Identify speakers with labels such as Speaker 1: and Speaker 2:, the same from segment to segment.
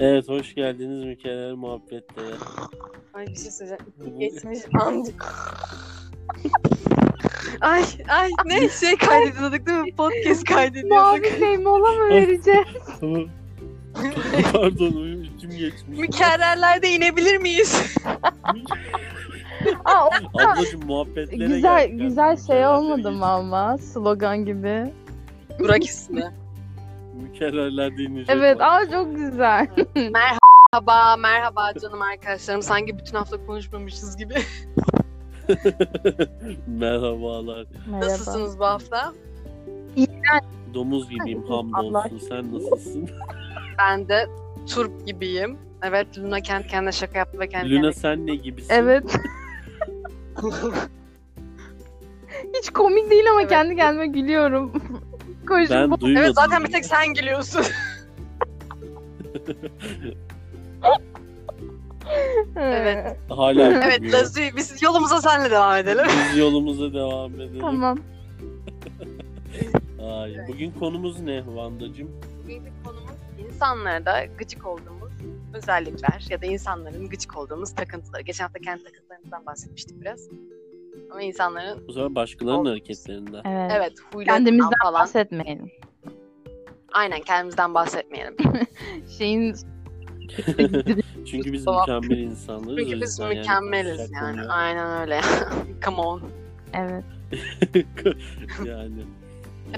Speaker 1: Evet hoş geldiniz mükemmel muhabbetlere.
Speaker 2: Ay bir şey söyleyeceğim. Geçmiş andı. ay ay ne şey kaydediyorduk değil mi? Podcast kaydediyorduk.
Speaker 3: Mavi Feymola mı vereceğim?
Speaker 1: Pardon uyum içim geçmiş.
Speaker 2: Mükerrerlerde inebilir miyiz?
Speaker 3: Aa, o
Speaker 1: Ablacım muhabbetlere
Speaker 3: güzel
Speaker 1: geldik.
Speaker 3: güzel şey
Speaker 1: Mükerrerlere
Speaker 3: olmadı
Speaker 1: geçtik.
Speaker 3: mı ama slogan gibi.
Speaker 2: Burak ismi.
Speaker 1: Mükerrerler dinleyecek.
Speaker 3: Evet,
Speaker 1: bak.
Speaker 3: aa çok güzel.
Speaker 2: Merhaba, merhaba canım arkadaşlarım. Sanki bütün hafta konuşmamışız gibi.
Speaker 1: Merhabalar.
Speaker 3: Merhaba.
Speaker 2: Nasılsınız bu hafta?
Speaker 1: Domuz gibiyim
Speaker 3: Ay, Allah.
Speaker 1: hamdolsun. Sen nasılsın?
Speaker 2: Ben de turp gibiyim. Evet, Luna kendi kendine şaka yaptı ve kendi
Speaker 1: Luna sen ne gibisin?
Speaker 3: Evet. Hiç komik değil ama
Speaker 2: Evet.
Speaker 3: kendi kendime gülüyorum. Koşum
Speaker 1: Ben
Speaker 3: bu-
Speaker 1: duymadım.
Speaker 2: Evet, zaten
Speaker 1: bunu.
Speaker 2: bir tek sen gülüyorsun. Evet.
Speaker 1: Hala
Speaker 2: evet,
Speaker 1: gülüyor.
Speaker 2: Lazi, biz yolumuza senle devam edelim.
Speaker 1: Biz yolumuza devam edelim.
Speaker 3: Tamam.
Speaker 1: Ay, bugün konumuz ne Vandacığım?
Speaker 2: Bugünkü konumuz insanlarda gıcık olduğumuz özellikler ya da insanların gıcık olduğumuz takıntıları. Geçen hafta kendi takıntılarımızdan bahsetmiştik biraz. Ama insanların
Speaker 1: Bu sefer başkalarının
Speaker 2: Olsun.
Speaker 1: hareketlerinden.
Speaker 3: Evet.
Speaker 2: evet huylarından
Speaker 3: Kendimizden
Speaker 2: falan.
Speaker 3: bahsetmeyelim.
Speaker 2: Aynen kendimizden bahsetmeyelim.
Speaker 3: Şeyin
Speaker 1: Çünkü biz
Speaker 2: Doğal.
Speaker 1: mükemmel insanlarız. o
Speaker 2: Çünkü biz
Speaker 1: yüzden yani
Speaker 2: mükemmeliz
Speaker 1: konuşacak
Speaker 2: yani.
Speaker 1: konu-
Speaker 2: Aynen öyle. Come on.
Speaker 3: evet.
Speaker 1: yani.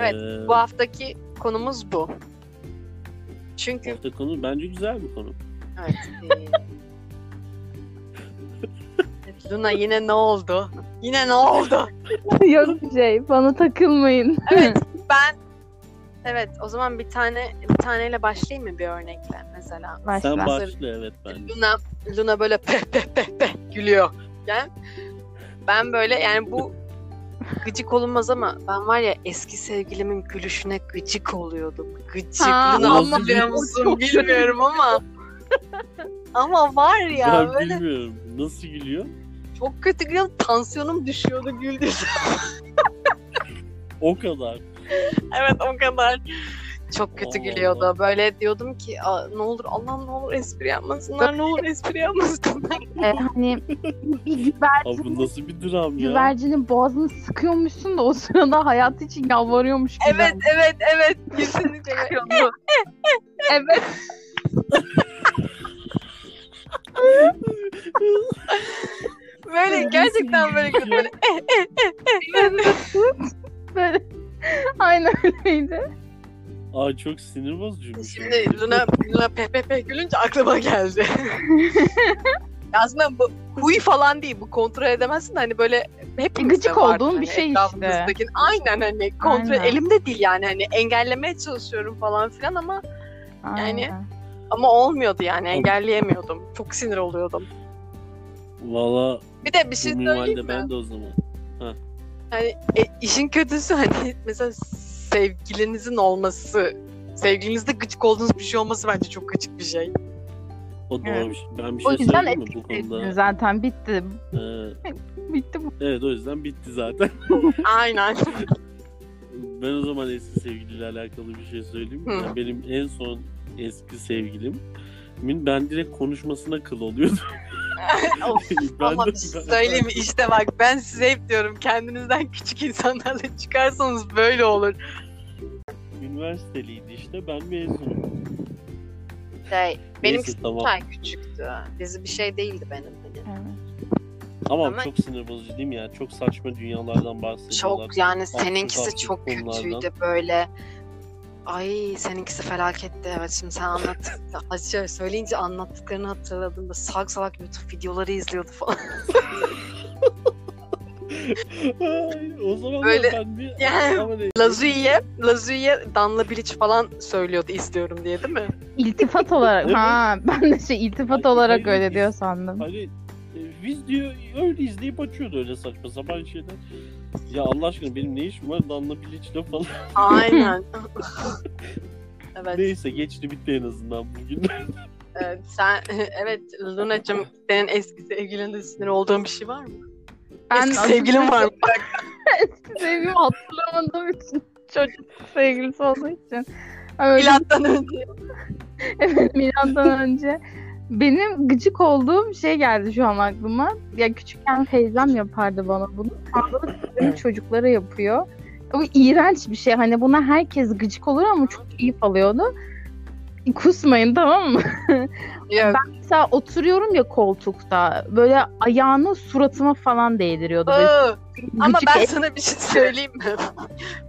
Speaker 2: Evet,
Speaker 1: eee,
Speaker 2: Bu haftaki konumuz bu.
Speaker 1: bu
Speaker 2: Çünkü
Speaker 1: hafta konu bence güzel bir konu.
Speaker 2: evet. eee, Evet, Luna yine ne oldu? Yine ne oldu?
Speaker 3: Yok bir şey. Bana takılmayın.
Speaker 2: Evet ben Evet o zaman bir tane bir taneyle başlayayım mı bir örnekle mesela?
Speaker 3: Başla.
Speaker 1: Sen başla evet bence.
Speaker 2: Luna Luna böyle peh peh peh peh gülüyor. Yani ben böyle yani bu gıcık olunmaz ama ben var ya eski sevgilimin gülüşüne gıcık oluyordum. Gıcık.
Speaker 3: Ha,
Speaker 2: Luna
Speaker 1: ama
Speaker 2: hatırlıyor
Speaker 3: bu
Speaker 2: musun
Speaker 3: çok kötü.
Speaker 2: bilmiyorum ama. ama var ya
Speaker 1: ben
Speaker 2: böyle
Speaker 1: bilmiyorum. Nasıl gülüyor?
Speaker 2: çok kötü gülüyor. Tansiyonum düşüyordu güldüğüm.
Speaker 1: O kadar.
Speaker 2: evet o kadar. Çok kötü
Speaker 1: Allah
Speaker 2: gülüyordu.
Speaker 1: Allah.
Speaker 2: Böyle diyordum ki "Aa, ne olur Allah'ım ne olur espri yapmasınlar. Ne olur espri yapmasınlar.
Speaker 3: Ee, hani
Speaker 1: Abi
Speaker 3: bir güvercin,
Speaker 1: bu nasıl bir dram ya?
Speaker 3: güvercinin boğazını sıkıyormuşsun da o sırada hayat için yalvarıyormuş gibi.
Speaker 2: evet evet evet. Kesinlikle.
Speaker 3: Evet.
Speaker 2: Böyle gerçekten böyle kötü. Böyle,
Speaker 3: Böyle. Aynen öyleydi.
Speaker 1: Aa çok sinir şey. bozucuymuş.
Speaker 2: Şimdi Luna, Luna peh peh peh gülünce aklıma geldi. Aslında bu huy falan değil. Bu kontrol edemezsin de hani böyle hepimizde
Speaker 3: E, Gıcık
Speaker 2: vardır
Speaker 3: olduğun
Speaker 2: hani
Speaker 3: bir şey işte.
Speaker 2: etrafımızdaki. Aynen hani kontrol
Speaker 3: Aynen.
Speaker 2: elimde değil yani hani engellemeye çalışıyorum falan filan ama Yani-
Speaker 3: Aynen.
Speaker 2: ama olmuyordu yani engelleyemiyordum. Çok sinir oluyordum.
Speaker 1: Valla
Speaker 2: Bir de bir şey
Speaker 1: bu
Speaker 2: söyleyeyim
Speaker 1: minvalde
Speaker 2: mi?
Speaker 1: ben de o zaman.
Speaker 2: Hani e, işin kötüsü hani mesela sevgilinizin olması, sevgilinizde gıcık olduğunuz bir şey olması bence çok gıcık bir şey.
Speaker 1: O doğru
Speaker 3: Evet.
Speaker 1: bir şey. Ben bir
Speaker 3: O
Speaker 1: şey
Speaker 3: yüzden
Speaker 1: söyleyeyim mi bu konuda?
Speaker 3: Zaten bitti.
Speaker 1: Ee,
Speaker 3: Bitti bu.
Speaker 1: evet o yüzden bitti zaten.
Speaker 2: Aynen.
Speaker 1: Ben o zaman eski sevgiliyle alakalı bir şey söyleyeyim. mi?
Speaker 2: Hı.
Speaker 1: Yani benim en son eski sevgilim ben direkt konuşmasına kıl oluyordum.
Speaker 2: Of,
Speaker 1: Ben
Speaker 2: Ama
Speaker 1: de-
Speaker 2: bir şey
Speaker 1: ben-
Speaker 2: söyleyeyim mi? İşte bak ben size hep diyorum kendinizden küçük insanlarla çıkarsanız böyle olur.
Speaker 1: Üniversiteliydi işte ben mezunum.
Speaker 2: Şey, benim
Speaker 1: Neyse, tamam.
Speaker 2: ay küçüktü. Bizi bir şey değildi benim. hani.
Speaker 1: Ama,
Speaker 2: Ama-
Speaker 1: çok sinir bozucu değil mi ya? Çok saçma dünyalardan bahsediyorlar.
Speaker 2: Çok yani
Speaker 1: Farklı
Speaker 2: seninkisi
Speaker 1: farklı
Speaker 2: çok
Speaker 1: konulardan.
Speaker 2: kötüydü böyle. Ay seninkisi felaketti. Evet şimdi sen anlat. Ya, şey, söyleyince anlattıklarını hatırladım. da Salak salak YouTube videoları izliyordu falan.
Speaker 1: Ay, o zaman da
Speaker 2: Böyle-
Speaker 1: ben bir...
Speaker 2: Yani-
Speaker 1: Ama ne-
Speaker 2: Lazui'ye, Lazui'ye Danla Bilic falan söylüyordu izliyorum diye değil mi?
Speaker 3: İltifat olarak.
Speaker 1: Evet.
Speaker 3: ha ben de şey iltifat
Speaker 1: Ay, hayır,
Speaker 3: olarak öyle
Speaker 1: biz-
Speaker 3: diyor sandım.
Speaker 1: Hani e, biz diyor öyle izleyip açıyordu öyle saçma sapan şeyler. Ya Allah aşkına benim ne işim var Danla Bilic'le falan.
Speaker 2: Aynen. evet.
Speaker 1: Neyse geçti bitti en azından bugün.
Speaker 2: Evet, sen evet Luna'cığım senin eski sevgilinde sinir olduğun bir şey var mı?
Speaker 3: Ben
Speaker 2: eski sevgilin var mı?
Speaker 3: Eski sevgilim hatırlamadığım için. Çocuk sevgilisi olduğu için. Ama Öyle
Speaker 2: Milattan önce.
Speaker 3: Evet milattan önce. Benim gıcık olduğum şey geldi şu an aklıma. Ya küçükken teyzem yapardı bana bunu. Sağlık sistemi çocuklara yapıyor. Bu iğrenç bir şey. Hani buna herkes gıcık olur ama çok keyif alıyordu. Kusmayın tamam mı?
Speaker 2: Yok.
Speaker 3: Mesela oturuyorum ya koltukta. Böyle ayağını suratıma falan değdiriyordu. Böyle
Speaker 2: Iı, Ee, Ama
Speaker 3: gıcık
Speaker 2: ben sana bir şey söyleyeyim mi?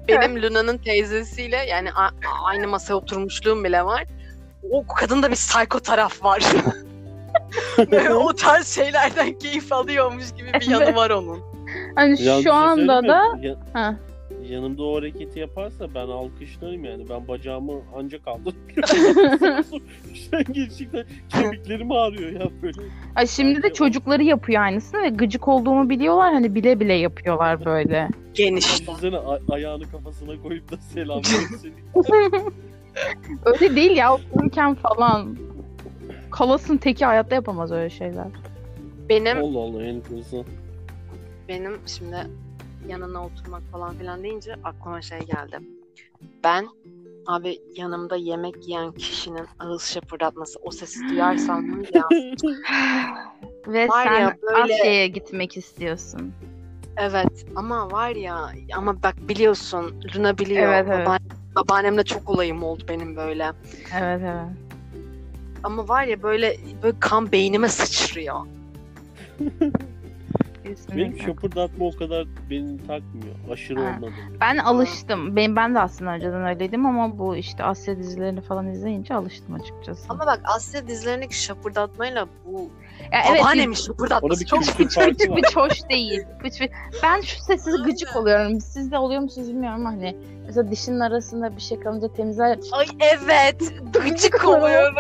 Speaker 2: Benim Luna'nın teyzesiyle yani a- aynı masaya oturmuşluğum bile var. O kadında bir psycho taraf var. Ve o tarz şeylerden keyif alıyormuş gibi bir yanı
Speaker 3: Evet.
Speaker 2: var onun.
Speaker 3: Hani
Speaker 1: Yalnız
Speaker 3: şu
Speaker 1: şey
Speaker 3: anda
Speaker 1: söyleyeyim
Speaker 3: da
Speaker 1: mi? Ya-
Speaker 3: Ha.
Speaker 1: yanımda o hareketi yaparsa ben alkışlarım yani. Ben bacağımı ancak kaldırıyorum. Sen gerçekten kemiklerim ağrıyor ya böyle.
Speaker 3: ay şimdi de çocukları yapıyor aynısını ve gıcık olduğumu biliyorlar hani bile bile yapıyorlar böyle.
Speaker 2: Geniş.
Speaker 1: Düşünsene a- ayağını kafasına koyup da selam versin.
Speaker 3: öyle değil ya okurken falan. Kalasın teki hayatta yapamaz öyle şeyler.
Speaker 2: Benim
Speaker 1: Allah Allah enteresan.
Speaker 2: benim şimdi yanına oturmak falan filan deyince aklıma şey geldi. Ben abi yanımda yemek yiyen kişinin ağız şapırdatması o sesi duyarsam var ya
Speaker 3: Ve
Speaker 2: Var ya,
Speaker 3: sen
Speaker 2: böyle-
Speaker 3: Asya'ya gitmek istiyorsun.
Speaker 2: evet ama var ya ama bak biliyorsun Luna biliyor
Speaker 3: Evet, evet.
Speaker 2: Babaannem- babaannemle çok olayım oldu benim böyle
Speaker 3: Evet evet.
Speaker 2: ama var ya böyle, böyle kan beynime sıçrıyor
Speaker 1: Benim
Speaker 3: Kesinlikle.
Speaker 1: şapırdatma o kadar beni takmıyor. Aşırı
Speaker 3: Ha.
Speaker 1: olmadı.
Speaker 3: Ben alıştım. Ben, ben de aslında önceden öyleydim ama bu işte Asya dizilerini falan izleyince alıştım açıkçası.
Speaker 2: ama bak Asya dizlerindeki şapırdatmayla bu
Speaker 3: Ya
Speaker 2: babaannemin
Speaker 1: Orada
Speaker 2: şapırdatması
Speaker 1: bir
Speaker 2: çok
Speaker 1: kültür
Speaker 3: Çok
Speaker 1: farkı var.
Speaker 3: bir hoş değil. Hiç bir- Ben şu sessiz gıcık oluyorum. Siz de oluyor musunuz bilmiyorum ama hani. Mesela dişinin arasında bir şey kalınca temizler.
Speaker 2: ay evet gıcık oluyorum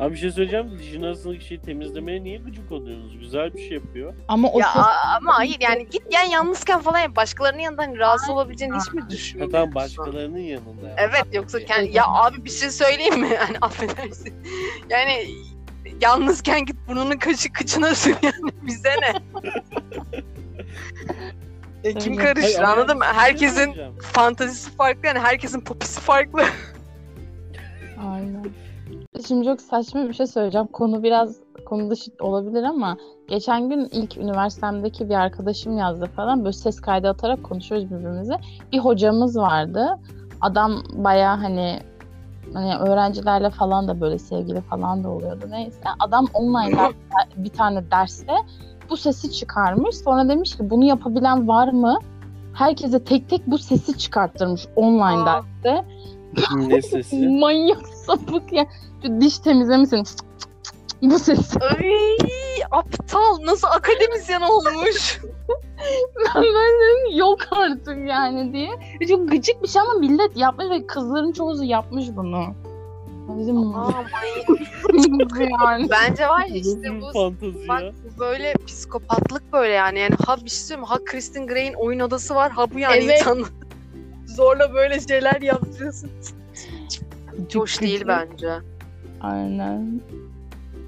Speaker 1: Abi bir şey söyleyeceğim. Dişin arasındaki şeyi temizlemeye niye gıcık oluyorsunuz? Güzel bir şey yapıyor.
Speaker 3: Ama o
Speaker 2: Ya
Speaker 3: ses
Speaker 2: a- ama hayır yani git yani yalnızken falan ya başkalarının yanında hani rahatsız olabileceğini hiç mi
Speaker 1: Ha,
Speaker 2: düşünmüyorsun?
Speaker 1: tamam başkalarının yanında. yani.
Speaker 2: Evet yoksa kendi ya abi bir şey söyleyeyim mi? Yani affedersin. Yani yalnızken git burnunun kaşı kıçına sür yani bize ne? Ya kim
Speaker 3: Öyle.
Speaker 1: Hayır,
Speaker 2: karışır
Speaker 1: ama
Speaker 2: anladın mı?
Speaker 1: bir şey
Speaker 2: Herkesin
Speaker 1: söyleyeceğim.
Speaker 2: fantazisi farklı yani herkesin popisi farklı.
Speaker 3: Aynen. Şimdi çok saçma bir şey söyleyeceğim. Konu biraz konu dışı olabilir ama geçen gün ilk üniversitemdeki bir arkadaşım yazdı falan. Böyle ses kaydı atarak konuşuyoruz birbirimize. Bir hocamız vardı. Adam baya hani hani öğrencilerle falan da böyle sevgili falan da oluyordu. Neyse adam online ders- bir tane derste bu sesi çıkarmış. Sonra demiş ki bunu yapabilen var mı? Herkese tek tek bu sesi çıkarttırmış online
Speaker 2: Aa.
Speaker 3: derste.
Speaker 1: ne sesi?
Speaker 3: Manyak sapık ya. Şu diş temizlemişsin. Cık cık cık cık. Bu ses.
Speaker 2: Ay aptal nasıl akademisyen olmuş?
Speaker 3: Ben dedim yok artık yani diye. Ve Çok gıcık bir şey ama millet yapmış ve kızların çoğusu yapmış bunu. Bizim
Speaker 2: Aa, manyak.
Speaker 3: yani.
Speaker 2: Bence var ya
Speaker 1: Nasıl
Speaker 2: işte
Speaker 1: bir
Speaker 2: bu
Speaker 1: fantezi
Speaker 2: Bak
Speaker 1: ya?
Speaker 2: bu böyle psikopatlık böyle yani. Yani ha bir şey söyleyeyim mi? ha Kristen Grey'in oyun odası var ha bu yani
Speaker 3: Evet.
Speaker 2: insan zorla böyle şeyler yaptırıyorsun.
Speaker 3: Çok
Speaker 2: Hoş değil
Speaker 3: gıcık.
Speaker 2: bence.
Speaker 3: Aynen.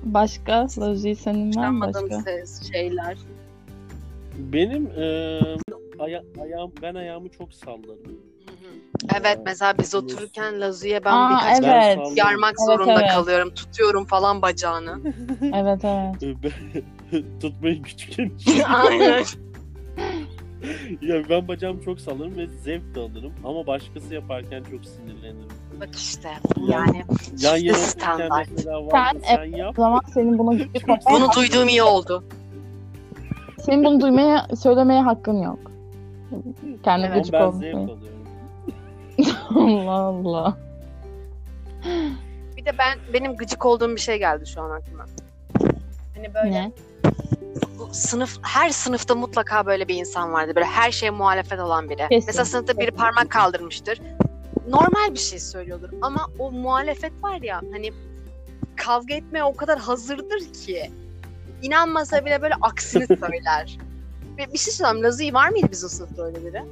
Speaker 3: Başka? Loji senin var mı
Speaker 2: Yapmadığım
Speaker 3: başka?
Speaker 2: ses şeyler.
Speaker 1: Benim eee, aya- ayağım ben ayağımı çok sallarım.
Speaker 2: Evet
Speaker 1: Ee,
Speaker 2: mesela biz
Speaker 1: biliyorsun.
Speaker 2: otururken Lazu'ya ben
Speaker 3: Aa,
Speaker 2: birkaç
Speaker 3: evet.
Speaker 1: Ben sallarım.
Speaker 2: yarmak
Speaker 3: Evet,
Speaker 2: zorunda
Speaker 3: evet.
Speaker 2: kalıyorum. Tutuyorum falan bacağını.
Speaker 3: Evet evet.
Speaker 1: Ee, ben- tutmayı küçükken.
Speaker 2: Aynen.
Speaker 1: ya ben bacağımı çok sallarım ve zevk de alırım ama başkası yaparken çok sinirlenirim.
Speaker 2: Bak işte yani
Speaker 1: Yan
Speaker 2: Çifte
Speaker 1: yana otururken
Speaker 2: standart.
Speaker 1: mesela var
Speaker 3: Sen-
Speaker 1: mı? sen yap.
Speaker 3: O zaman senin buna gıcık
Speaker 1: Çok-
Speaker 3: olmaya,
Speaker 2: bunu duyduğum iyi oldu.
Speaker 3: senin bunu duymaya, söylemeye hakkın yok. Kendi
Speaker 2: Evet,
Speaker 1: Ama
Speaker 3: gıcık
Speaker 1: ben
Speaker 3: olmuş.
Speaker 1: zevk alıyorum.
Speaker 3: Allah Allah.
Speaker 2: Bir de ben benim gıcık olduğum bir şey geldi şu an aklıma. Hani böyle
Speaker 3: Ne?
Speaker 2: bu sınıf her sınıfta mutlaka böyle bir insan vardı. Böyle her şeye muhalefet olan biri.
Speaker 3: Kesin.
Speaker 2: Mesela sınıfta biri parmak kaldırmıştır. Normal bir şey söylüyordur ama o muhalefet var ya hani kavga etmeye o kadar hazırdır ki inanmasa bile böyle aksini söyler. Ve bir şey söyleyeyim Lazı'yı var mıydı biz o sınıfta öyle biri?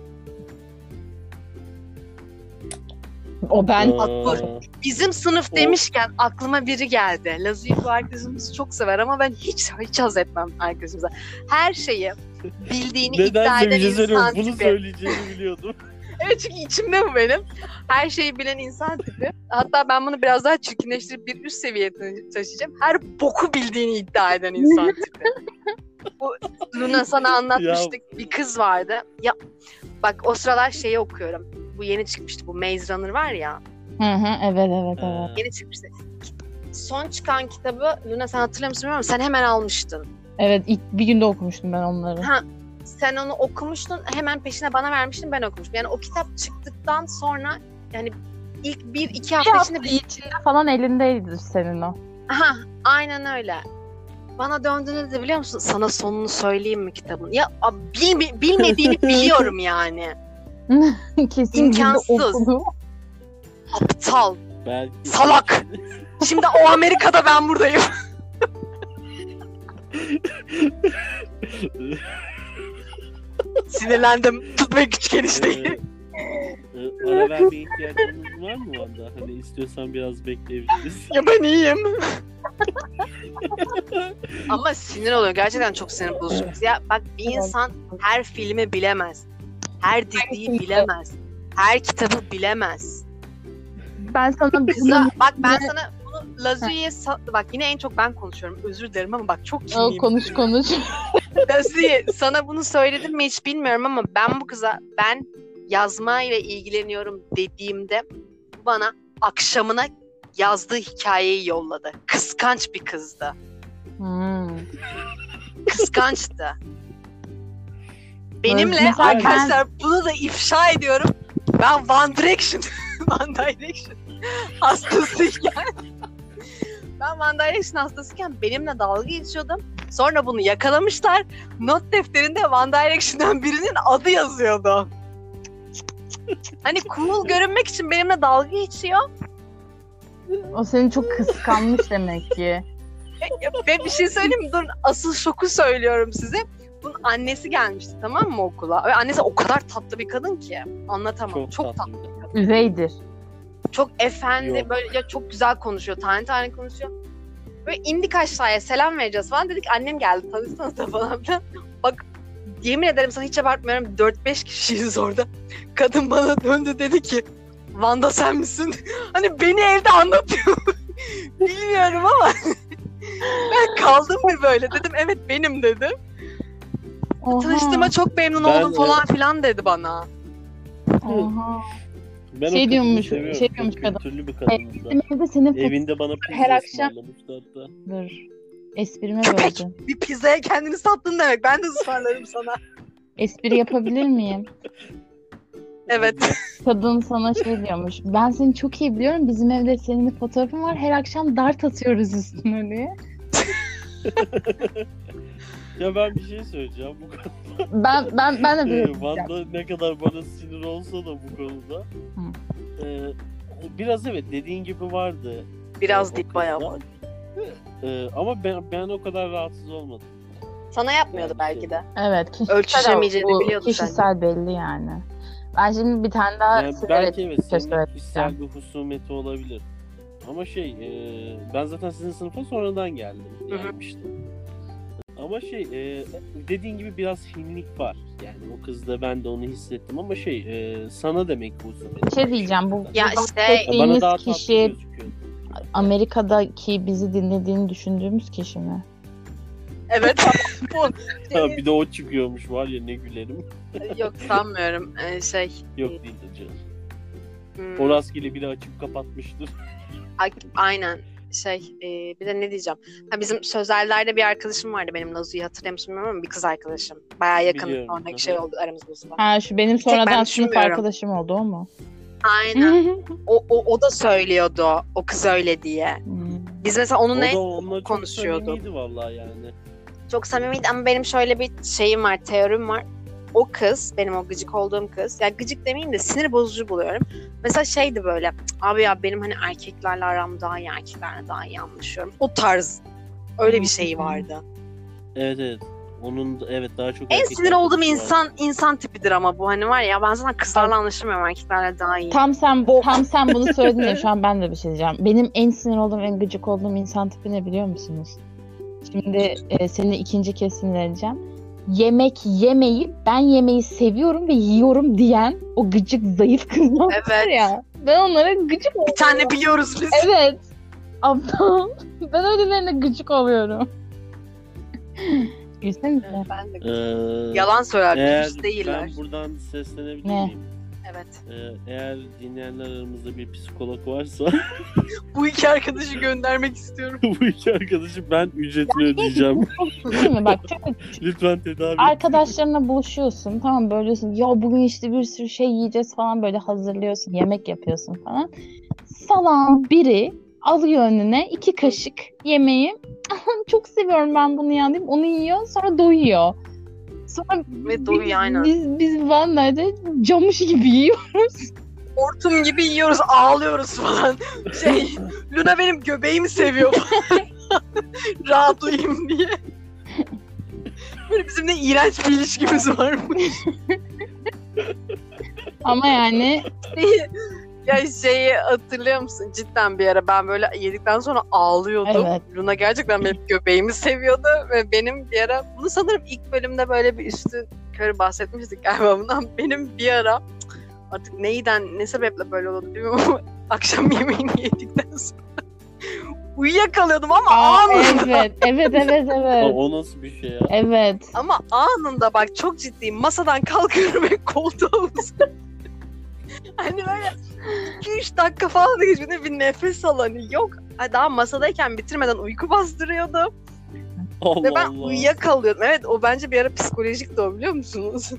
Speaker 3: O ben
Speaker 1: Ee,
Speaker 2: Bizim sınıf
Speaker 1: O-
Speaker 2: demişken aklıma biri geldi. Lazı'yı bu arkadaşımız çok sever ama ben hiç hiç haz etmem arkadaşımıza. Her şeyi bildiğini iddia
Speaker 1: Nedense
Speaker 2: eden
Speaker 1: bir şey söylüyorum.
Speaker 2: insan
Speaker 1: Bunu
Speaker 2: tipi.
Speaker 1: söyleyeceğini biliyordum.
Speaker 2: Evet çünkü içimde bu benim. Her şeyi bilen insan tipi. Hatta ben bunu biraz daha çirkinleştirip bir üst seviyeye ta- taşıyacağım. Her boku bildiğini iddia eden insan tipi. bu Luna sana anlatmıştık. Bir kız vardı. Ya bak o sıralar şeyi okuyorum. Bu yeni çıkmıştı. Bu Maze Runner var ya.
Speaker 3: Hı hı evet evet evet.
Speaker 1: Ee,
Speaker 2: Yeni çıkmıştı. Son çıkan kitabı Luna sen hatırlıyor musun bilmiyorum. Sen hemen almıştın.
Speaker 3: Evet ilk bir günde okumuştum ben onları.
Speaker 2: Ha, sen onu okumuştun hemen peşine bana vermiştin ben okumuştum. Yani o kitap çıktıktan sonra yani ilk bir iki
Speaker 3: Şey
Speaker 2: hafta içinde bir...
Speaker 3: içinde falan elindeydi senin o.
Speaker 2: Aha, aynen öyle. Bana döndüğünde de biliyor musun sana sonunu söyleyeyim mi kitabın? Ya a- bilmi- bilmediğini biliyorum yani.
Speaker 3: Kesin
Speaker 2: İmkansız.
Speaker 3: okulu.
Speaker 2: Aptal.
Speaker 1: belki
Speaker 2: Salak! Şimdi o Amerika'da ben buradayım. Sinirlendim. Tutma güç gelişti.
Speaker 1: Ee, e, ara vermeye ihtiyacınız var mı Vanda? Hani istiyorsan biraz bekleyebiliriz.
Speaker 2: ya ben iyiyim. Ama sinir oluyor. Gerçekten çok sinir bozucu. Ya bak bir insan her filmi bilemez. Her diziyi bilemez. Her kitabı bilemez.
Speaker 3: Ben sana
Speaker 2: Kıza,
Speaker 3: bunu
Speaker 2: bak ben sana bunu Lazuri'ye sa- bak yine en çok ben konuşuyorum. Özür dilerim ama bak çok
Speaker 3: Yo,
Speaker 2: kinliyim.
Speaker 3: konuş konuş.
Speaker 2: Gazi sana bunu söyledim mi hiç bilmiyorum ama ben bu kıza ben yazmayla ilgileniyorum dediğimde bana akşamına yazdığı hikayeyi yolladı. Kıskanç bir kızdı.
Speaker 3: Hmm.
Speaker 2: Kıskançtı. Benimle
Speaker 3: Mesela ben-
Speaker 2: arkadaşlar bunu da ifşa ediyorum. Ben One Direction, One Direction hastasıyken ben One Direction hastasıyken benimle dalga geçiyordum. Sonra bunu yakalamışlar. Not defterinde One Direction'dan birinin adı yazıyordu. Hani cool görünmek için benimle dalga geçiyor.
Speaker 3: O seni çok kıskanmış demek ki.
Speaker 2: Ve bir şey söyleyeyim mi? Durun asıl şoku söylüyorum size. Bunun annesi gelmişti tamam mı okula? Ve annesi o kadar tatlı bir kadın ki. Anlatamam. Çok, tatlı.
Speaker 3: Üveydir.
Speaker 2: Çok efendi
Speaker 1: Yok.
Speaker 2: böyle ya çok güzel konuşuyor. Tane tane konuşuyor. Böyle indik aşağıya selam vereceğiz falan. Dedik annem geldi tanışsanız da falan filan. Bak yemin ederim sana hiç abartmıyorum. 4-5 kişiyiz orada. Kadın bana döndü dedi ki Vanda sen misin? hani beni evde anlatıyor. Bilmiyorum ama ben kaldım bir böyle dedim evet benim dedim.
Speaker 3: Oha,
Speaker 2: Tanıştığıma çok memnun
Speaker 1: Ben
Speaker 2: oldum
Speaker 1: de-
Speaker 2: falan filan dedi bana.
Speaker 3: oha.
Speaker 1: Ben o
Speaker 3: Şey
Speaker 1: kadını
Speaker 3: diyormuş,
Speaker 1: seviyorum.
Speaker 3: şey
Speaker 1: Çok
Speaker 3: diyormuş kadın.
Speaker 1: Kültürlü bir
Speaker 3: Bizim
Speaker 1: kadındı.
Speaker 3: evde senin
Speaker 1: Evinde bana pizza
Speaker 3: Her akşam-
Speaker 1: ısmarlamıştı hatta.
Speaker 3: fotoğrafın. Esprime
Speaker 2: Köpek.
Speaker 3: böldüm.
Speaker 2: Bir pizzaya kendini sattın demek. Ben de ısmarlarım sana.
Speaker 3: Espri yapabilir miyim?
Speaker 2: Evet.
Speaker 3: Kadın sana şey diyormuş. Ben seni çok iyi biliyorum. Bizim evde senin bir fotoğrafın var. Her akşam dart atıyoruz üstüne diye.
Speaker 1: Ya ben bir şey söyleyeceğim. Bu kadar
Speaker 3: Ben ben ben de
Speaker 1: Ee,
Speaker 3: bir
Speaker 1: Vanda ne kadar bana sinir olsa da bu konuda.
Speaker 3: Hı.
Speaker 1: Ee, biraz evet dediğin gibi vardı.
Speaker 2: Biraz
Speaker 1: O
Speaker 2: değil bayağı
Speaker 1: kızdan.
Speaker 2: var.
Speaker 1: Ee, ama ben, ben o kadar rahatsız olmadım.
Speaker 2: Sana yapmıyordu
Speaker 1: şey.
Speaker 2: belki de.
Speaker 3: Evet. Kişisel,
Speaker 2: Ölçüşemeyeceğini
Speaker 3: bu
Speaker 2: biliyordu
Speaker 3: Kişisel belli yani. Ben şimdi bir tane daha
Speaker 1: Yani
Speaker 3: size-
Speaker 1: belki evet
Speaker 3: şey
Speaker 1: senin
Speaker 3: söyleyeceğim.
Speaker 1: kişisel bir husumeti olabilir. Ama şey e, ben zaten sizin sınıfa sonradan geldim.
Speaker 2: Hı hı.
Speaker 1: Gelmiştim. Ama şey e, dediğin gibi biraz hinlik var. Yani o kızda ben de onu hissettim ama şey e, sana demek bu husumet.
Speaker 3: Bir şey diyeceğim. Bu,
Speaker 2: Ya
Speaker 3: bu
Speaker 2: işte-
Speaker 1: bana daha
Speaker 3: bahsettiğiniz
Speaker 1: tatlı
Speaker 3: kişi
Speaker 1: gözüküyor.
Speaker 3: Amerika'daki bizi dinlediğini düşündüğümüz kişi mi?
Speaker 2: Evet. Bu-
Speaker 1: Ha, bir de o çıkıyormuş var ya ne gülerim.
Speaker 2: Yok sanmıyorum. Ee, şey.
Speaker 1: Yok değildir canım.
Speaker 2: hmm,
Speaker 1: O rastgele biri açıp kapatmıştır.
Speaker 2: a- aynen. Şey e, bir de ne diyeceğim. Ha, bizim sözellerde bir arkadaşım vardı benim Nazu'yu hatırlıyor musun bilmiyorum ama bir kız arkadaşım. Baya yakın
Speaker 1: Biliyorum,
Speaker 2: sonraki
Speaker 1: hı
Speaker 2: şey
Speaker 1: hı.
Speaker 2: oldu aramızda.
Speaker 3: Ha şu benim
Speaker 2: ben
Speaker 3: sonradan sınıf
Speaker 2: düşünmüyorum.
Speaker 3: arkadaşım oldu o mu?
Speaker 2: Aynen. O, o, o da söylüyordu o kız öyle diye.
Speaker 3: Hmm.
Speaker 2: Biz mesela
Speaker 1: O
Speaker 2: onunla
Speaker 1: da onunla çok
Speaker 2: konuşuyordu.
Speaker 1: samimiydi vallahi yani.
Speaker 2: çok samimiydi ama benim şöyle bir şeyim var, teorim var. O kız, benim o gıcık olduğum kız, ya gıcık demeyeyim de sinir bozucu buluyorum. Mesela şeydi böyle, "Cık, abi ya benim hani erkeklerle aram daha iyi, erkeklerle daha iyi anlaşıyorum. O tarz. Öyle bir şey vardı.
Speaker 1: Evet evet. Onun da- evet daha çok
Speaker 2: En
Speaker 1: erkek
Speaker 2: sinir olduğum
Speaker 1: arkadaşı var.
Speaker 2: insan insan tipidir ama bu hani var ya ben zaten kızlarla anlaşamıyorum erkeklerle daha iyi.
Speaker 3: Tam sen bu tam sen bunu söyledin ya şu an ben de bir şey diyeceğim. Benim en sinir olduğum, en gıcık olduğum insan tipi ne biliyor musunuz? Şimdi e, seni ikinci kez sinirleneceğim. yemek yemeyi ben yemeği seviyorum ve yiyorum diyen o gıcık zayıf kızlar var
Speaker 2: Evet.
Speaker 3: ya. Ben onlara gıcık
Speaker 2: Bir tane biliyoruz biz.
Speaker 3: Evet. Ablam. Ben öylelerine gıcık oluyorum. Gülsenize.
Speaker 2: Ben de.
Speaker 1: Ee,
Speaker 2: Yalan söyler,
Speaker 1: eğer
Speaker 2: dürüst değiller.
Speaker 1: Ben buradan seslenebilir
Speaker 3: Ne?
Speaker 1: miyim?
Speaker 2: Evet.
Speaker 1: Ee, eğer dinleyenler aramızda bir psikolog varsa
Speaker 2: Bu iki arkadaşı göndermek istiyorum.
Speaker 1: bu iki arkadaşı ben ücretini ödeyeceğim.
Speaker 3: Değil mi? Bak çok
Speaker 1: Lütfen tedavi et.
Speaker 3: arkadaşlarına buluşuyorsun tamam böyle diyorsun ya bugün işte bir sürü şey yiyeceğiz falan böyle hazırlıyorsun yemek yapıyorsun falan. Salam biri alıyor önüne iki kaşık yemeği çok seviyorum ben bunu ya deyip onu yiyor sonra doyuyor. Sonra
Speaker 2: Ve doyuyor, aynen.
Speaker 3: Biz, biz Van'larda camış gibi yiyor.
Speaker 2: Hortum gibi yiyoruz, ağlıyoruz falan. Şey, Luna benim göbeğimi seviyor falan. Rahat uyuyayım diye. Böyle bizim de iğrenç bir ilişkimiz var. bu.
Speaker 3: Ama yani
Speaker 2: ya şeyi hatırlıyor musun? Cidden bir ara ben böyle yedikten sonra ağlıyordum.
Speaker 3: Evet.
Speaker 2: Luna gerçekten benim göbeğimi seviyordu ve benim bir ara bunu sanırım ilk bölümde böyle bir üstü körü bahsetmiştik galiba bundan. Benim bir ara artık neyden ne sebeple böyle oldu bilmiyorum ama akşam yemeğini yedikten sonra uyuyakalıyordum ama
Speaker 3: Aa,
Speaker 2: anında.
Speaker 3: evet evet evet
Speaker 1: Aa,
Speaker 3: evet.
Speaker 1: O nasıl bir şey ya?
Speaker 3: Evet.
Speaker 2: Ama anında bak çok ciddiyim. Masadan kalkıyorum ve koltuğa uzanıyorum. hani böyle 2-3 dakika falan da geçmedi bir nefes al hani yok. Ha, Daha masadayken bitirmeden uyku bastırıyordu.
Speaker 1: Allah
Speaker 2: Ve ben
Speaker 1: Allah.
Speaker 2: uyuyakalıyordum. Evet o bence bir ara psikolojik de o biliyor musunuz?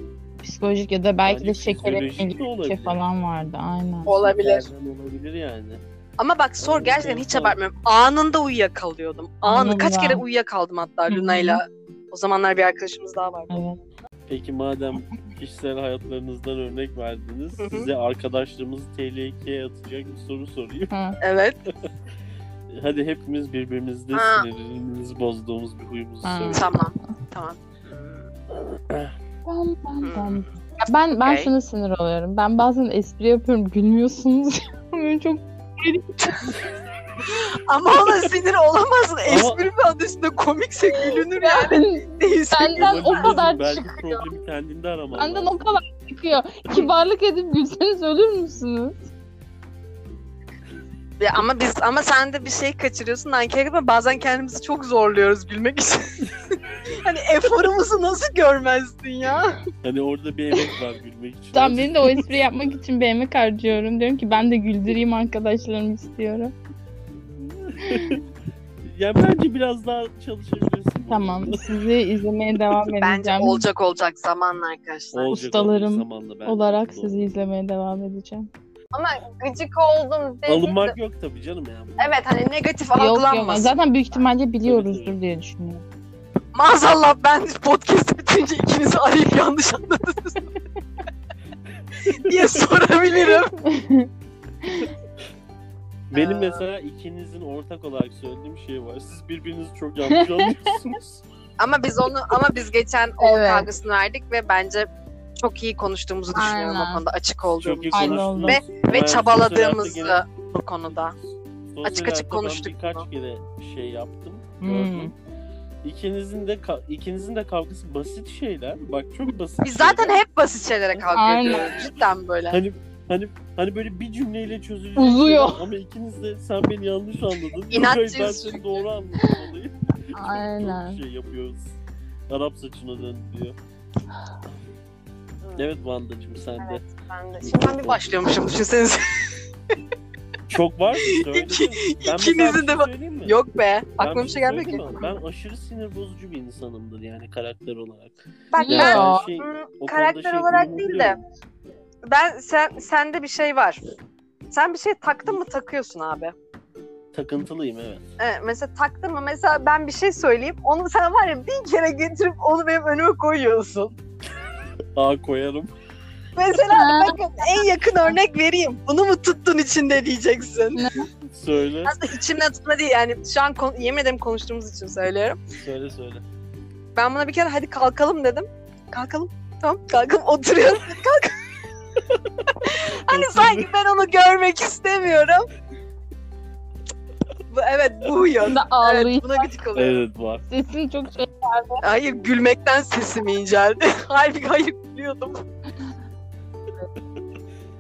Speaker 3: Psikolojik ya da belki
Speaker 1: Bence
Speaker 3: de şeker
Speaker 1: psikolojik de
Speaker 3: etme gibi bir şey
Speaker 1: olabilir.
Speaker 3: falan vardı aynen.
Speaker 2: Olabilir.
Speaker 1: Nereden olabilir yani.
Speaker 2: Ama bak sor gerçekten hiç abartmıyorum. Anında uyuyakalıyordum. Anı. Kaç
Speaker 3: Allah.
Speaker 2: kere uyuyakaldım hatta
Speaker 3: Hı hı.
Speaker 2: Luna'yla. O zamanlar bir arkadaşımız daha vardı.
Speaker 3: Evet.
Speaker 1: Peki madem kişisel hayatlarınızdan örnek verdiniz,
Speaker 2: Hı hı.
Speaker 1: size arkadaşlarımızı tehlikeye atacak bir soru sorayım.
Speaker 3: Ha.
Speaker 2: Evet.
Speaker 1: Hadi hepimiz birbirimizde
Speaker 2: Ha.
Speaker 1: sinirimizi bozduğumuz bir huyumuzu
Speaker 3: Ha.
Speaker 1: söyleyelim.
Speaker 2: Tamam. Tamam.
Speaker 3: Bam, bam, bam.
Speaker 2: Hmm.
Speaker 3: Ya Ben ben
Speaker 2: Okey.
Speaker 3: şuna sinir oluyorum. Ben bazen espri yapıyorum, gülmüyorsunuz. Böyle çok
Speaker 2: Ama ona sinir olamazsın.
Speaker 1: Ama-
Speaker 2: Espri mi adı üstünde komikse gülünür yani. Neyse.
Speaker 3: Benden o
Speaker 1: Olabilir,
Speaker 3: kadar
Speaker 1: belki
Speaker 3: çıkıyor.
Speaker 1: problemi kendinde araman
Speaker 3: benden
Speaker 1: lazım.
Speaker 3: o kadar çıkıyor. Kibarlık edip gülseniz ölür müsünüz?
Speaker 2: Ya ama biz ama sen de bir şey kaçırıyorsun. Nankör gitme. Bazen kendimizi çok zorluyoruz gülmek için. hani eforumuzu nasıl görmezsin ya?
Speaker 1: Hani orada bir emek var gülmek için.
Speaker 3: Tamam benim de o espri yapmak için bir emek harcıyorum. Diyorum ki ben de güldüreyim arkadaşlarımı istiyorum.
Speaker 1: Ya bence biraz daha çalışabilirsin. bu
Speaker 3: Tamam
Speaker 1: konuda.
Speaker 3: sizi izlemeye devam
Speaker 2: Bence
Speaker 3: edeceğim.
Speaker 2: olacak olacak zamanla arkadaşlar.
Speaker 1: Olacak,
Speaker 3: Ustalarım
Speaker 1: olacak zamanla bence.
Speaker 3: olarak
Speaker 1: Doğru.
Speaker 3: sizi izlemeye devam edeceğim.
Speaker 2: Ama gıcık oldum dedi.
Speaker 1: Alınmak yok tabii canım ya.
Speaker 2: Evet hani negatif
Speaker 3: Yok yok
Speaker 2: algılanmasın.
Speaker 3: zaten büyük ihtimalle
Speaker 1: Tabii.
Speaker 3: biliyoruzdur diye düşünüyorum.
Speaker 2: Maazallah ben podcast bitince ikinizi arayıp yanlış anladınız. diye sorabilirim.
Speaker 1: Benim
Speaker 2: Ee.
Speaker 1: mesela ikinizin ortak olarak söylediğim şey var. Siz birbirinizi çok yanlış anlıyorsunuz.
Speaker 2: Ama biz onu ama biz geçen onun
Speaker 3: Evet.
Speaker 2: kavgasını verdik ve bence çok iyi konuştuğumuzu düşünüyorum
Speaker 3: Aynen.
Speaker 2: o konuda açık
Speaker 1: çok
Speaker 2: olduğumuzu
Speaker 1: iyi
Speaker 3: Aynen.
Speaker 1: konuştunuz.
Speaker 3: Ve-
Speaker 2: ve e,
Speaker 1: Ben
Speaker 2: çabaladığımızı
Speaker 1: sosyal hayatta
Speaker 2: bu konuda.
Speaker 1: gene- sosyal
Speaker 2: Açık açık
Speaker 1: hayatta ben
Speaker 2: konuştuk
Speaker 1: Birkaç
Speaker 2: bunu.
Speaker 1: kere şey yaptım.
Speaker 3: Hmm.
Speaker 1: Gördüm. İkinizin de ka- ikinizin de kavgası basit şeyler. Bak çok basit.
Speaker 2: Biz zaten
Speaker 1: şeyler.
Speaker 2: hep basit şeylere kavga
Speaker 3: Aynen.
Speaker 2: ediyoruz. Cidden böyle.
Speaker 1: hani hani hani böyle bir cümleyle çözülecek.
Speaker 3: Uzuyor.
Speaker 1: şeyler Ama ikiniz de sen beni yanlış anladın.
Speaker 2: İnatçıyız
Speaker 1: Ben seni
Speaker 2: çünkü.
Speaker 1: doğru anladım olayı.
Speaker 3: Aynen.
Speaker 1: Çok şey yapıyoruz. Arap saçına dön diyor. Evet Vanda'cığım sen de.
Speaker 2: Ben de. Şimdi ben bir başlıyormuşum düşünsenize.
Speaker 1: Çok var mı? Söyle.
Speaker 2: İki-
Speaker 1: Ben mesela
Speaker 2: ikinizin
Speaker 1: bir
Speaker 2: de
Speaker 1: şey
Speaker 2: ba-
Speaker 1: söyleyeyim mi?
Speaker 2: Yok be.
Speaker 1: Ben
Speaker 2: Aklıma bir şey gelmiyor ki.
Speaker 1: söyleyeyim mi? Ben aşırı sinir bozucu bir insanımdır yani karakter olarak.
Speaker 2: Bak
Speaker 3: Ya.
Speaker 2: ben
Speaker 1: Yani şey,
Speaker 2: Hmm,
Speaker 1: o
Speaker 2: karakter
Speaker 1: konuda şey
Speaker 2: olarak
Speaker 1: uyumu
Speaker 2: değil de
Speaker 1: biliyorum.
Speaker 2: ben sen sende bir şey var. Sen bir şey taktın mı takıyorsun abi.
Speaker 1: Takıntılıyım evet.
Speaker 2: Evet, mesela taktın mı mesela ben bir şey söyleyeyim onu sen var ya bir kere getirip onu benim önüme koyuyorsun.
Speaker 1: Aa koyarım.
Speaker 2: Mesela bakın en yakın örnek vereyim. Bunu mu tuttun içinde diyeceksin.
Speaker 1: Söyle.
Speaker 2: Aslında içimde tutma değil yani şu an kon- yemin ederim konuştuğumuz için söylüyorum.
Speaker 1: Söyle söyle.
Speaker 2: Ben buna bir kere hadi kalkalım dedim. Kalkalım. Tamam kalkalım oturuyorum. Kalk. hani sanki ben onu görmek istemiyorum. Bu, evet bu huyun.
Speaker 3: Da ağlayıp
Speaker 2: Evet buna gıcık oluyor.
Speaker 1: Evet var.
Speaker 3: sesin çok şey.
Speaker 2: Hayır gülmekten sesim inceldi. Halbuki hayır gülüyordum.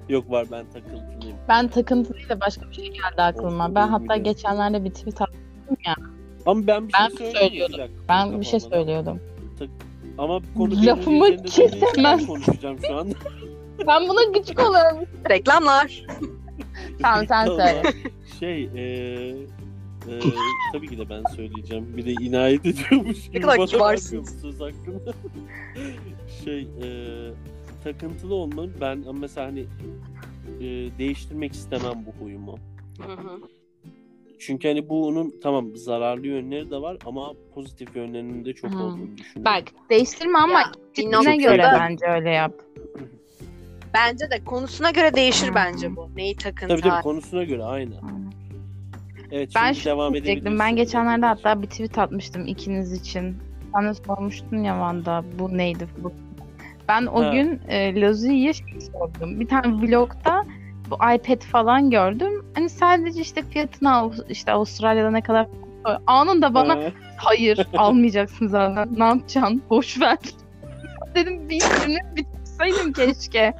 Speaker 1: Yok var ben takıntılıyım.
Speaker 3: Ben takıntıyla başka bir şey geldi aklıma. Ben hatta geçenlerde bir tweet attım.
Speaker 1: Ama ben bir şey
Speaker 3: Ben
Speaker 1: söyleyeyim.
Speaker 3: söylüyordum.
Speaker 1: Bir dakika,
Speaker 3: Ben bir şey
Speaker 1: kafamdan.
Speaker 3: söylüyordum.
Speaker 1: Ama bu konu
Speaker 3: Lafımı
Speaker 1: benim üzerinde dönüyor. Ben
Speaker 3: kesemezsin.
Speaker 1: konuşacağım şu an.
Speaker 3: Ben buna gıcık oluyorum.
Speaker 2: Reklamlar.
Speaker 3: Tamam, sen söyle.
Speaker 1: Şey eee eee, tabii ki de ben söyleyeceğim. Bir de inayet ediyormuş gibi
Speaker 2: Ne kadar
Speaker 1: bana
Speaker 2: kibarsın.
Speaker 1: bakıyormuş söz hakkında. şey eee, takıntılı olmanın ben ama mesela hani eee, değiştirmek istemem bu huyumu.
Speaker 2: Hı hı.
Speaker 1: Çünkü hani bunun tamam zararlı yönleri de var ama pozitif yönlerinin de çok
Speaker 3: Hmm.
Speaker 1: olduğunu düşünüyorum.
Speaker 3: Bak değiştirme ama
Speaker 2: Ya, bir
Speaker 3: ne
Speaker 1: Çok
Speaker 3: göre
Speaker 1: iyi.
Speaker 3: bence öyle yap.
Speaker 2: Bence de konusuna göre değişir
Speaker 3: Hı.
Speaker 2: bence bu. Neyi takıntı
Speaker 1: Tabii tabii
Speaker 2: hali.
Speaker 1: konusuna göre aynı. Evet
Speaker 3: Ben
Speaker 1: şimdi devam
Speaker 3: şunu diyecektim.
Speaker 1: edebilirsin.
Speaker 3: Ben geçenlerde hatta bir tweet atmıştım ikiniz için. Sen de sormuştun ya Vanda bu neydi bu. Ben o
Speaker 1: Ha.
Speaker 3: gün e, Lozi'ye şey sordum. Bir tane vlogda bu iPad falan gördüm. Hani sadece işte fiyatını Av- işte Avustralya'da ne kadar anında bana
Speaker 1: Ha.
Speaker 3: hayır almayacaksın zaten. Ne yapacaksın? Boş ver. Dedim bir cümle bitirseydim keşke.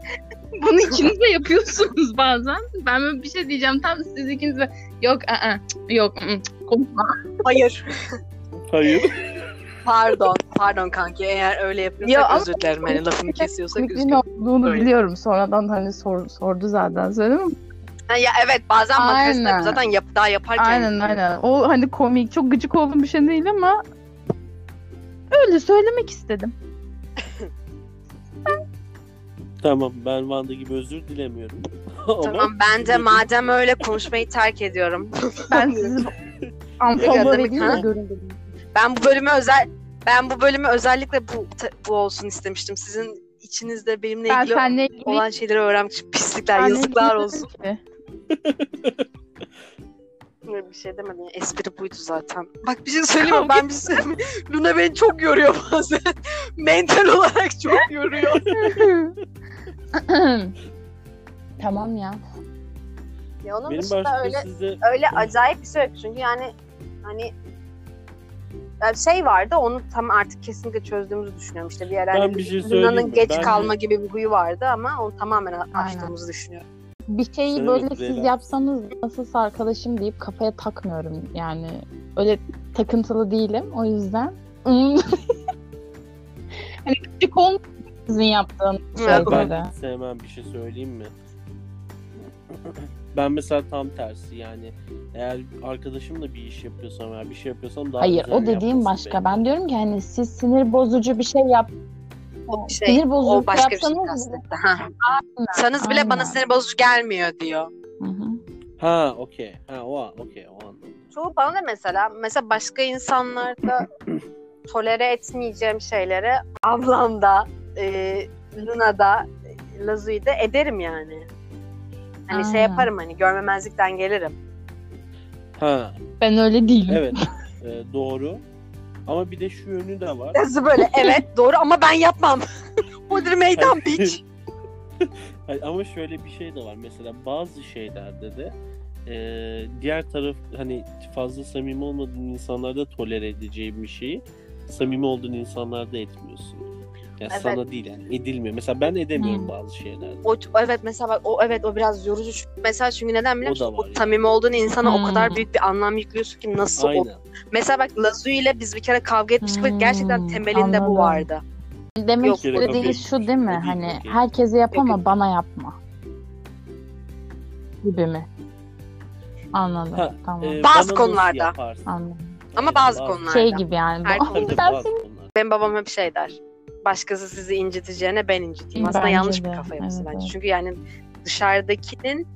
Speaker 3: Bunu ikiniz de yapıyorsunuz bazen. Ben böyle bir şey diyeceğim tam siz ikiniz de yok ı-ı, cık, yok ı-ı, cık, konuşma.
Speaker 2: Hayır.
Speaker 1: Hayır.
Speaker 2: Pardon. Pardon kanki eğer öyle yapıyorsak
Speaker 3: Ya ama-
Speaker 2: özür dilerim. Hani lafımı kesiyorsak
Speaker 3: Kimin
Speaker 2: üzgünüm.
Speaker 3: olduğunu
Speaker 2: Öyle.
Speaker 3: biliyorum. Sonradan hani sor- sordu zaten söyledim mi?
Speaker 2: Ha, ya evet bazen
Speaker 3: Aynen.
Speaker 2: makarasını zaten yap, daha yaparken.
Speaker 3: Aynen aynen. O hani komik çok gıcık olduğum bir şey değil ama öyle söylemek istedim.
Speaker 1: Tamam ben Vanda gibi özür dilemiyorum. Ama
Speaker 2: Tamam ben de madem öyle konuşmayı terk ediyorum.
Speaker 3: Ben sizi
Speaker 2: Yakadım,
Speaker 3: anlamda vereyim
Speaker 2: ha?
Speaker 3: de görün.
Speaker 2: Ben bu bölümü özel ben bu bölümü özellikle bu bu olsun istemiştim. Sizin içinizde benimle
Speaker 3: Ben
Speaker 2: ilgili
Speaker 3: seninle ilgili
Speaker 2: olan şeyleri öğrenmek için pislikler,
Speaker 3: Ben de
Speaker 2: yazıklar
Speaker 3: bilmiyorum
Speaker 2: olsun.
Speaker 3: ki.
Speaker 2: Bir şey demedim. ya, Espri buydu zaten. Bak bir şey söyleyeyim mi? Ben bir şey Luna beni çok yoruyor bazen. Mental olarak çok yoruyor.
Speaker 3: tamam ya.
Speaker 2: Ya onun
Speaker 1: Benim
Speaker 2: dışında
Speaker 1: başka
Speaker 2: öyle
Speaker 1: size
Speaker 2: öyle acayip bir şey yok. Çünkü yani hani yani şey vardı onu tam artık kesinlikle çözdüğümüzü düşünüyorum. İşte bir yer
Speaker 1: Ben
Speaker 2: hani
Speaker 1: bir şey söyleyeyim
Speaker 2: Luna'nın
Speaker 1: mi?
Speaker 2: geç
Speaker 1: Bence-
Speaker 2: kalma gibi bir huyu vardı ama onu tamamen açtığımızı düşünüyorum.
Speaker 3: Bir şeyi
Speaker 1: Söylemek
Speaker 3: böyle
Speaker 1: üzere.
Speaker 3: siz yapsanız nasılsa arkadaşım deyip kafaya takmıyorum. Yani öyle takıntılı değilim o yüzden. hani küçük olmuyor sizin yaptığınız şey
Speaker 2: Evet,
Speaker 1: ben
Speaker 3: şeylere.
Speaker 1: sevmem bir şey söyleyeyim mi? Ben mesela tam tersi yani eğer arkadaşımla bir iş yapıyorsam veya bir şey yapıyorsam daha
Speaker 3: Hayır
Speaker 1: güzel
Speaker 3: o dediğim
Speaker 1: yapmasını
Speaker 3: başka.
Speaker 1: bekliyorum.
Speaker 3: Ben diyorum ki hani siz sinir bozucu bir şey yap.
Speaker 2: O şey,
Speaker 3: sinir bozucu
Speaker 2: O başka bir şey
Speaker 3: yapsanız
Speaker 2: kastetti. Ha. Sanız bile bana
Speaker 3: Aynen.
Speaker 2: sinir bozucu gelmiyor diyor.
Speaker 3: Hı hı.
Speaker 1: Ha okey. Ha o an- okey o anlamda.
Speaker 2: Çoğu bana da mesela mesela başka insanlarda tolere etmeyeceğim şeyleri ablamda, e, Luna'da, e, Lazu'da ederim yani. Hani şey
Speaker 3: Aynen.
Speaker 2: yaparım hani görmemezlikten gelirim.
Speaker 1: Ha
Speaker 3: Ben öyle değilim.
Speaker 1: evet Ee, doğru. Ama bir de şu yönü de var.
Speaker 2: Lazu böyle evet doğru ama ben yapmam. Hodri meydan biç.
Speaker 1: Hayır, Ama şöyle bir şey de var. Mesela bazı şeylerde de eee, diğer taraf hani fazla samimi olmadığın insanlarda tolere edeceğin bir şeyi samimi olduğun insanlarda etmiyorsun. Yani
Speaker 2: Evet.
Speaker 1: sana değil yani edilmiyor. Mesela ben edemiyorum
Speaker 3: Hmm.
Speaker 1: bazı şeylerde.
Speaker 2: O, evet mesela bak, o evet o biraz yorucu. Çünkü mesela çünkü neden biliyor
Speaker 1: O da
Speaker 2: musun?
Speaker 1: var
Speaker 2: O
Speaker 1: yani.
Speaker 2: samimi olduğun insana
Speaker 3: Hmm.
Speaker 2: o kadar büyük bir anlam yüklüyorsun ki nasıl o
Speaker 1: Aynen.
Speaker 2: Mesela bak Lazu ile biz bir kere kavga etmiştik ve
Speaker 3: Hmm,
Speaker 2: gerçekten temelinde
Speaker 3: anladım.
Speaker 2: bu vardı.
Speaker 3: Demek
Speaker 2: Yok,
Speaker 1: yok,
Speaker 3: istediğiniz
Speaker 1: yok.
Speaker 3: şu değil mi?
Speaker 1: Yok,
Speaker 3: hani
Speaker 1: yok, yok.
Speaker 3: herkese yap ama
Speaker 2: Yok, yok.
Speaker 3: bana yapma. Gibi mi? Anladım.
Speaker 1: Ha,
Speaker 3: tamam.
Speaker 1: Ee,
Speaker 2: Bazı
Speaker 1: bana nasıl
Speaker 2: konularda.
Speaker 1: yaparsın?
Speaker 3: Anladım.
Speaker 2: Ama
Speaker 1: Aynen,
Speaker 2: bazı konularda.
Speaker 3: Şey gibi yani.
Speaker 2: Her
Speaker 3: bu-
Speaker 1: Tabii tabii,
Speaker 3: Ben
Speaker 1: bazı konularda.
Speaker 2: Benim babam hep şey der. Başkası sizi inciteceğine ben inciteyim. Aslında
Speaker 3: Bence
Speaker 2: yanlış
Speaker 3: de,
Speaker 2: bir kafa yapısı
Speaker 3: evet,
Speaker 2: bence.
Speaker 3: evet.
Speaker 2: Çünkü yani dışarıdakinin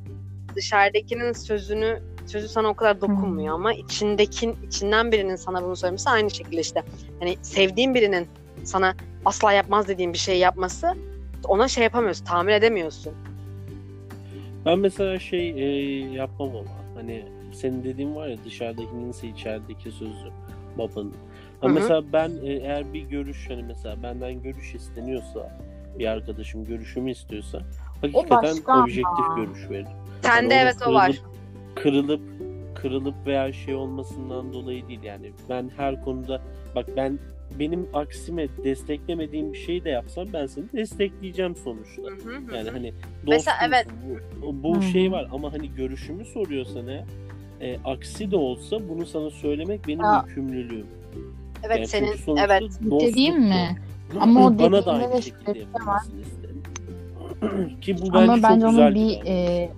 Speaker 2: dışarıdakinin sözünü sözü sana o kadar dokunmuyor ama içindekin içinden birinin sana bunu söylemesi aynı şekilde işte hani sevdiğin birinin sana asla yapmaz dediğin bir şey yapması ona şey yapamıyorsun, tamir edemiyorsun.
Speaker 1: Ben mesela şey e, yapmam ama hani senin dediğin var ya dışarıdakininse içerideki sözü babanın. Ha
Speaker 2: Hı hı.
Speaker 1: mesela ben e, eğer bir görüş hani mesela benden görüş isteniyorsa bir arkadaşım görüşümü istiyorsa hakikaten
Speaker 3: başka ama.
Speaker 1: objektif görüş veririm. Yani
Speaker 2: Sende
Speaker 1: onun
Speaker 2: evet o
Speaker 1: kırılıp-
Speaker 2: var.
Speaker 1: Kırılıp kırılıp veya şey olmasından dolayı değil yani ben her konuda bak ben benim aksime desteklemediğim bir şeyi de yapsam ben seni destekleyeceğim sonuçta.
Speaker 2: Hı hı hı.
Speaker 1: Yani hani
Speaker 2: Mesela
Speaker 1: dostum,
Speaker 2: evet.
Speaker 1: bu,
Speaker 3: Hı
Speaker 1: bu
Speaker 3: hı.
Speaker 1: şey var ama hani görüşümü soruyorsan ne e, aksi de olsa bunu sana söylemek benim
Speaker 3: Ya.
Speaker 1: yükümlülüğüm.
Speaker 2: evet
Speaker 1: Yani çünkü
Speaker 2: senin
Speaker 1: sonuçta
Speaker 2: evet.
Speaker 1: dostluk
Speaker 3: Dediğim
Speaker 1: bu.
Speaker 3: mi? Ama o
Speaker 1: bana da
Speaker 3: dediğinde
Speaker 1: aynı
Speaker 3: de
Speaker 1: şekilde
Speaker 3: şiddet de var.
Speaker 1: yapılmasını isterim. Ki bu bence,
Speaker 3: Ama bence
Speaker 1: çok güzel şey.
Speaker 3: onun bir
Speaker 1: davranış.
Speaker 3: e,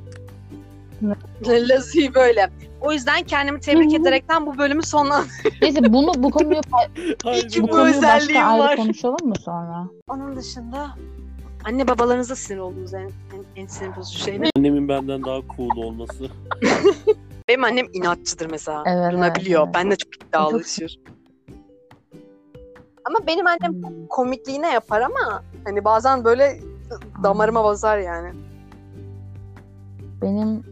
Speaker 2: Lazi'yi böyle. O yüzden kendimi tebrik
Speaker 3: Hı hı.
Speaker 2: ederekten bu bölümü sonlandırdım.
Speaker 3: neyse bunu bu konuyu
Speaker 1: Aynen
Speaker 2: iki
Speaker 3: e, bu
Speaker 2: Bu
Speaker 1: öyle.
Speaker 3: konuyu başka
Speaker 2: özelliğim var.
Speaker 3: ayrı konuşalım mı sonra?
Speaker 2: Onun dışında anne babalarınıza sinir olduğunuz en, en, en sinir bozucu şey ne?
Speaker 1: Annemin benden daha cool olması.
Speaker 2: Benim annem inatçıdır mesela.
Speaker 3: Evet,
Speaker 2: Bunu biliyor.
Speaker 3: evet.
Speaker 2: Ben de çok iddialıdır. Ama benim annem komikliğine yapar ama hani bazen böyle damarıma basar yani.
Speaker 3: Benim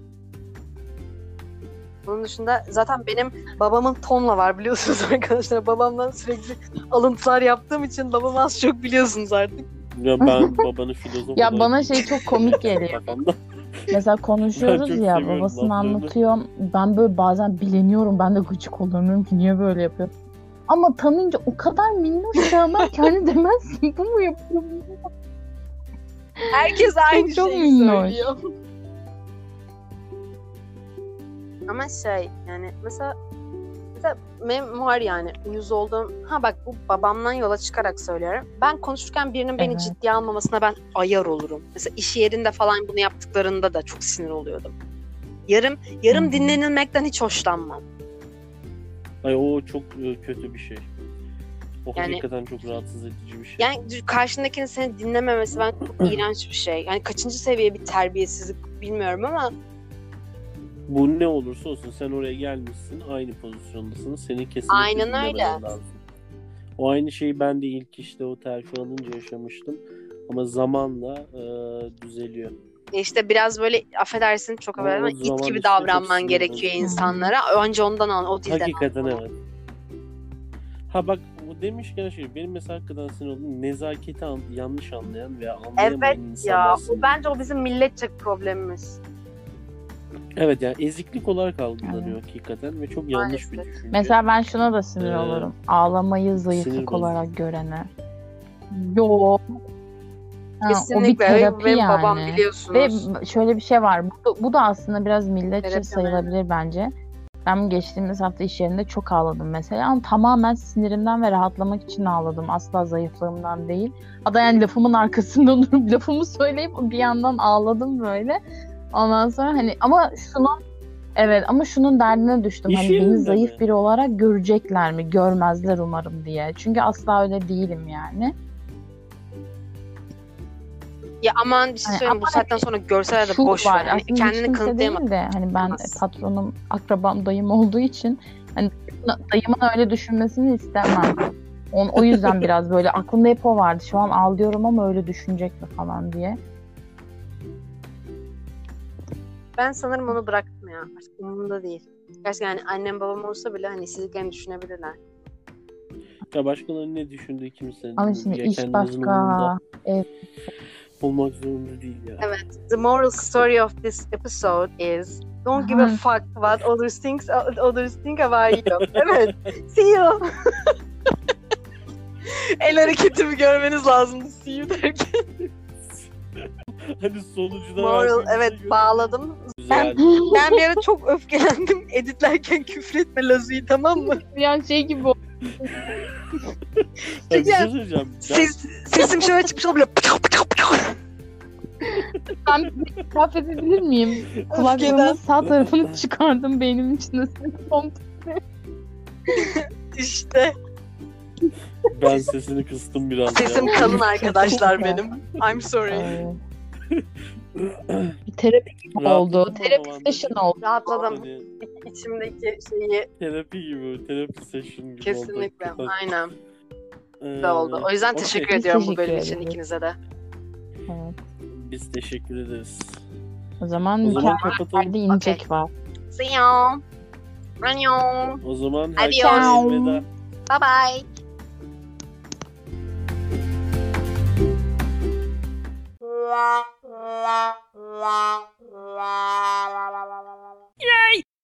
Speaker 2: Bunun dışında zaten benim babamın tonla var biliyorsunuz arkadaşlar. Babamdan sürekli alıntılar yaptığım için babamı az çok biliyorsunuz artık.
Speaker 1: Ya ben babanı filozof
Speaker 3: Ya
Speaker 1: olarak
Speaker 3: bana şey çok komik geliyor.
Speaker 1: kafamda.
Speaker 3: Mesela konuşuyoruz
Speaker 1: çok
Speaker 3: ya
Speaker 1: seviyorum
Speaker 3: babasını
Speaker 1: laflarını.
Speaker 3: anlatıyor. Ben böyle bazen bileniyorum. Ben de gıcık oluyorum. Diyorum ki niye böyle yapıyor? Ama tanınca o kadar minnoş ki ama kendi demezsin bu mu yapıyor?
Speaker 2: Herkes aynı
Speaker 3: çok
Speaker 2: şeyi
Speaker 3: minnoş.
Speaker 2: söylüyor. Ama şey yani mesela mesela benim var yani ünlüz olduğum ha bak bu babamdan yola çıkarak söylüyorum. Ben konuşurken birinin beni
Speaker 3: Evet.
Speaker 2: ciddiye almamasına ben ayar olurum. Mesela iş yerinde falan bunu yaptıklarında da çok sinir oluyordum. Yarım yarım
Speaker 3: Hı hı.
Speaker 2: dinlenilmekten hiç hoşlanmam.
Speaker 1: Ay o çok e, kötü bir şey. O
Speaker 2: Yani-
Speaker 1: hakikaten çok rahatsız edici bir şey.
Speaker 2: Yani karşındakinin seni dinlememesi ben
Speaker 3: Hmm.
Speaker 2: çok iğrenç bir şey. Yani kaçıncı seviye bir terbiyesizlik bilmiyorum ama
Speaker 1: Bu ne olursa olsun sen oraya gelmişsin aynı pozisyondasın. Seni kesinlikle
Speaker 2: Aynen
Speaker 1: dinlemen
Speaker 2: öyle.
Speaker 1: lazım. O aynı şeyi ben de ilk işte o terfi alınca yaşamıştım. Ama zamanla e, düzeliyor.
Speaker 2: İşte E, biraz böyle affedersin çok
Speaker 1: O-
Speaker 2: haber ama
Speaker 1: o
Speaker 2: it
Speaker 1: zaman
Speaker 2: gibi
Speaker 1: işte
Speaker 2: davranman
Speaker 1: hepsini
Speaker 2: gerekiyor
Speaker 1: bozuyor.
Speaker 2: insanlara. Önce ondan al, o dilden
Speaker 1: Hakikaten
Speaker 2: al.
Speaker 1: evet. Ha bak bu demişken şey benim mesela hakikaten sinir olduğum nezaketi an- yanlış anlayan veya anlayamayan
Speaker 2: Evet
Speaker 1: insanlar
Speaker 2: Ya
Speaker 1: sinir
Speaker 2: o
Speaker 1: edici.
Speaker 2: bence o bizim milletçe problemimiz.
Speaker 1: Evet yani eziklik olarak algılanıyor hakikaten ve çok yanlış bir düşünce.
Speaker 3: Mesela ben şuna da sinir
Speaker 1: Ee,
Speaker 3: olurum. Ağlamayı
Speaker 1: sinir
Speaker 3: zayıflık
Speaker 1: bozucu.
Speaker 3: olarak görene. Yo. Ha, o bir
Speaker 2: Kesinlikle. Ve
Speaker 3: terapi
Speaker 2: benim
Speaker 3: yani.
Speaker 2: babam
Speaker 3: Ve
Speaker 2: biliyorsunuz.
Speaker 3: şöyle bir şey var. Bu, bu da aslında biraz milletçe
Speaker 2: Terapi mi?
Speaker 3: sayılabilir bence. Ben geçtiğimiz hafta iş yerinde çok ağladım mesela. Ama tamamen sinirimden ve rahatlamak için ağladım. Asla zayıflığımdan değil. Hatta yani lafımın arkasında durup lafımı söyleyip bir yandan ağladım böyle. Ondan sonra hani ama şunun evet ama şunun derdine düştüm.
Speaker 1: İş
Speaker 3: hani beni
Speaker 1: yerinde
Speaker 3: zayıf
Speaker 1: mi?
Speaker 3: biri olarak görecekler mi? Görmezler umarım diye. Çünkü asla öyle değilim yani.
Speaker 2: Ya aman bir şey
Speaker 3: Hani
Speaker 2: söyleyeyim bu
Speaker 3: ama-
Speaker 2: saatten sonra görseler de
Speaker 3: Şu
Speaker 2: boş
Speaker 1: Hani
Speaker 2: ver. Yani
Speaker 3: aslında hiç
Speaker 2: kendini
Speaker 3: kimse
Speaker 2: kanıtlayamaz.
Speaker 3: değil de hani ben
Speaker 2: Yapamaz.
Speaker 3: patronum, akrabam, dayım olduğu için hani dayımın öyle düşünmesini istemem. On, o yüzden biraz böyle aklımda hep o vardı. Şu an ağlıyorum ama öyle düşünecek mi falan diye.
Speaker 2: Ben sanırım onu bıraktım ya. Artık umurumda değil. Gerçi yani annem babam olsa bile hani istediklerini düşünebilirler.
Speaker 1: Ya başkalarının ne düşündüğü kimsenin
Speaker 3: Ama şimdi
Speaker 1: ya
Speaker 3: iş
Speaker 1: kendinizin
Speaker 3: başka.
Speaker 1: umurunda olmak zorunda değil ya.
Speaker 2: Evet. The moral story of this episode is don't give a
Speaker 3: Aha.
Speaker 2: fuck what others think others think about you. evet. See you. El hareketimi görmeniz lazım. See you derken.
Speaker 1: Hani sonucuna
Speaker 2: Moral
Speaker 1: varsa bir
Speaker 2: evet
Speaker 1: şey yok.
Speaker 2: bağladım.
Speaker 1: Güzel.
Speaker 2: Ben bir ara çok öfkelendim. Editlerken küfretme Lazu'yu tamam mı?
Speaker 3: yani şey gibi o.
Speaker 1: Ya bir şey
Speaker 2: yani-
Speaker 1: söyleyeceğim. Ben-
Speaker 2: Ses, sesim şöyle çıkmış olabilir.
Speaker 3: Ben itiraf edebilir miyim? Kulaklığımın sağ tarafını çıkardım beynimin içine. Son-
Speaker 2: işte
Speaker 1: Ben sesini kıstım biraz
Speaker 2: sesim
Speaker 1: ya.
Speaker 2: kalın arkadaşlar benim. I'm sorry.
Speaker 3: Ay. Bir terapi gibi oldu.
Speaker 1: Rahatladım o
Speaker 3: Terapi
Speaker 1: zaman da.
Speaker 3: session oldu.
Speaker 2: Rahatladım.
Speaker 1: Hani
Speaker 2: İçimdeki şeyi
Speaker 1: terapi gibi, terapi session gibi
Speaker 2: kesinlikle.
Speaker 1: oldu.
Speaker 2: Aynen.
Speaker 1: Aynen.
Speaker 2: de oldu. O yüzden
Speaker 1: Ee, Okey.
Speaker 2: teşekkür
Speaker 3: Biz
Speaker 2: ediyorum bu
Speaker 3: teşekkür
Speaker 2: bölüm için
Speaker 3: ederiz.
Speaker 2: ikinize de.
Speaker 3: Evet.
Speaker 1: Biz teşekkür ederiz.
Speaker 3: O zaman,
Speaker 1: O
Speaker 3: o
Speaker 1: zaman kapatalım.
Speaker 3: inecek var.
Speaker 2: See you. Annyeong.
Speaker 1: O zaman
Speaker 2: Adios.
Speaker 1: herkese elveda.
Speaker 2: Bye bye.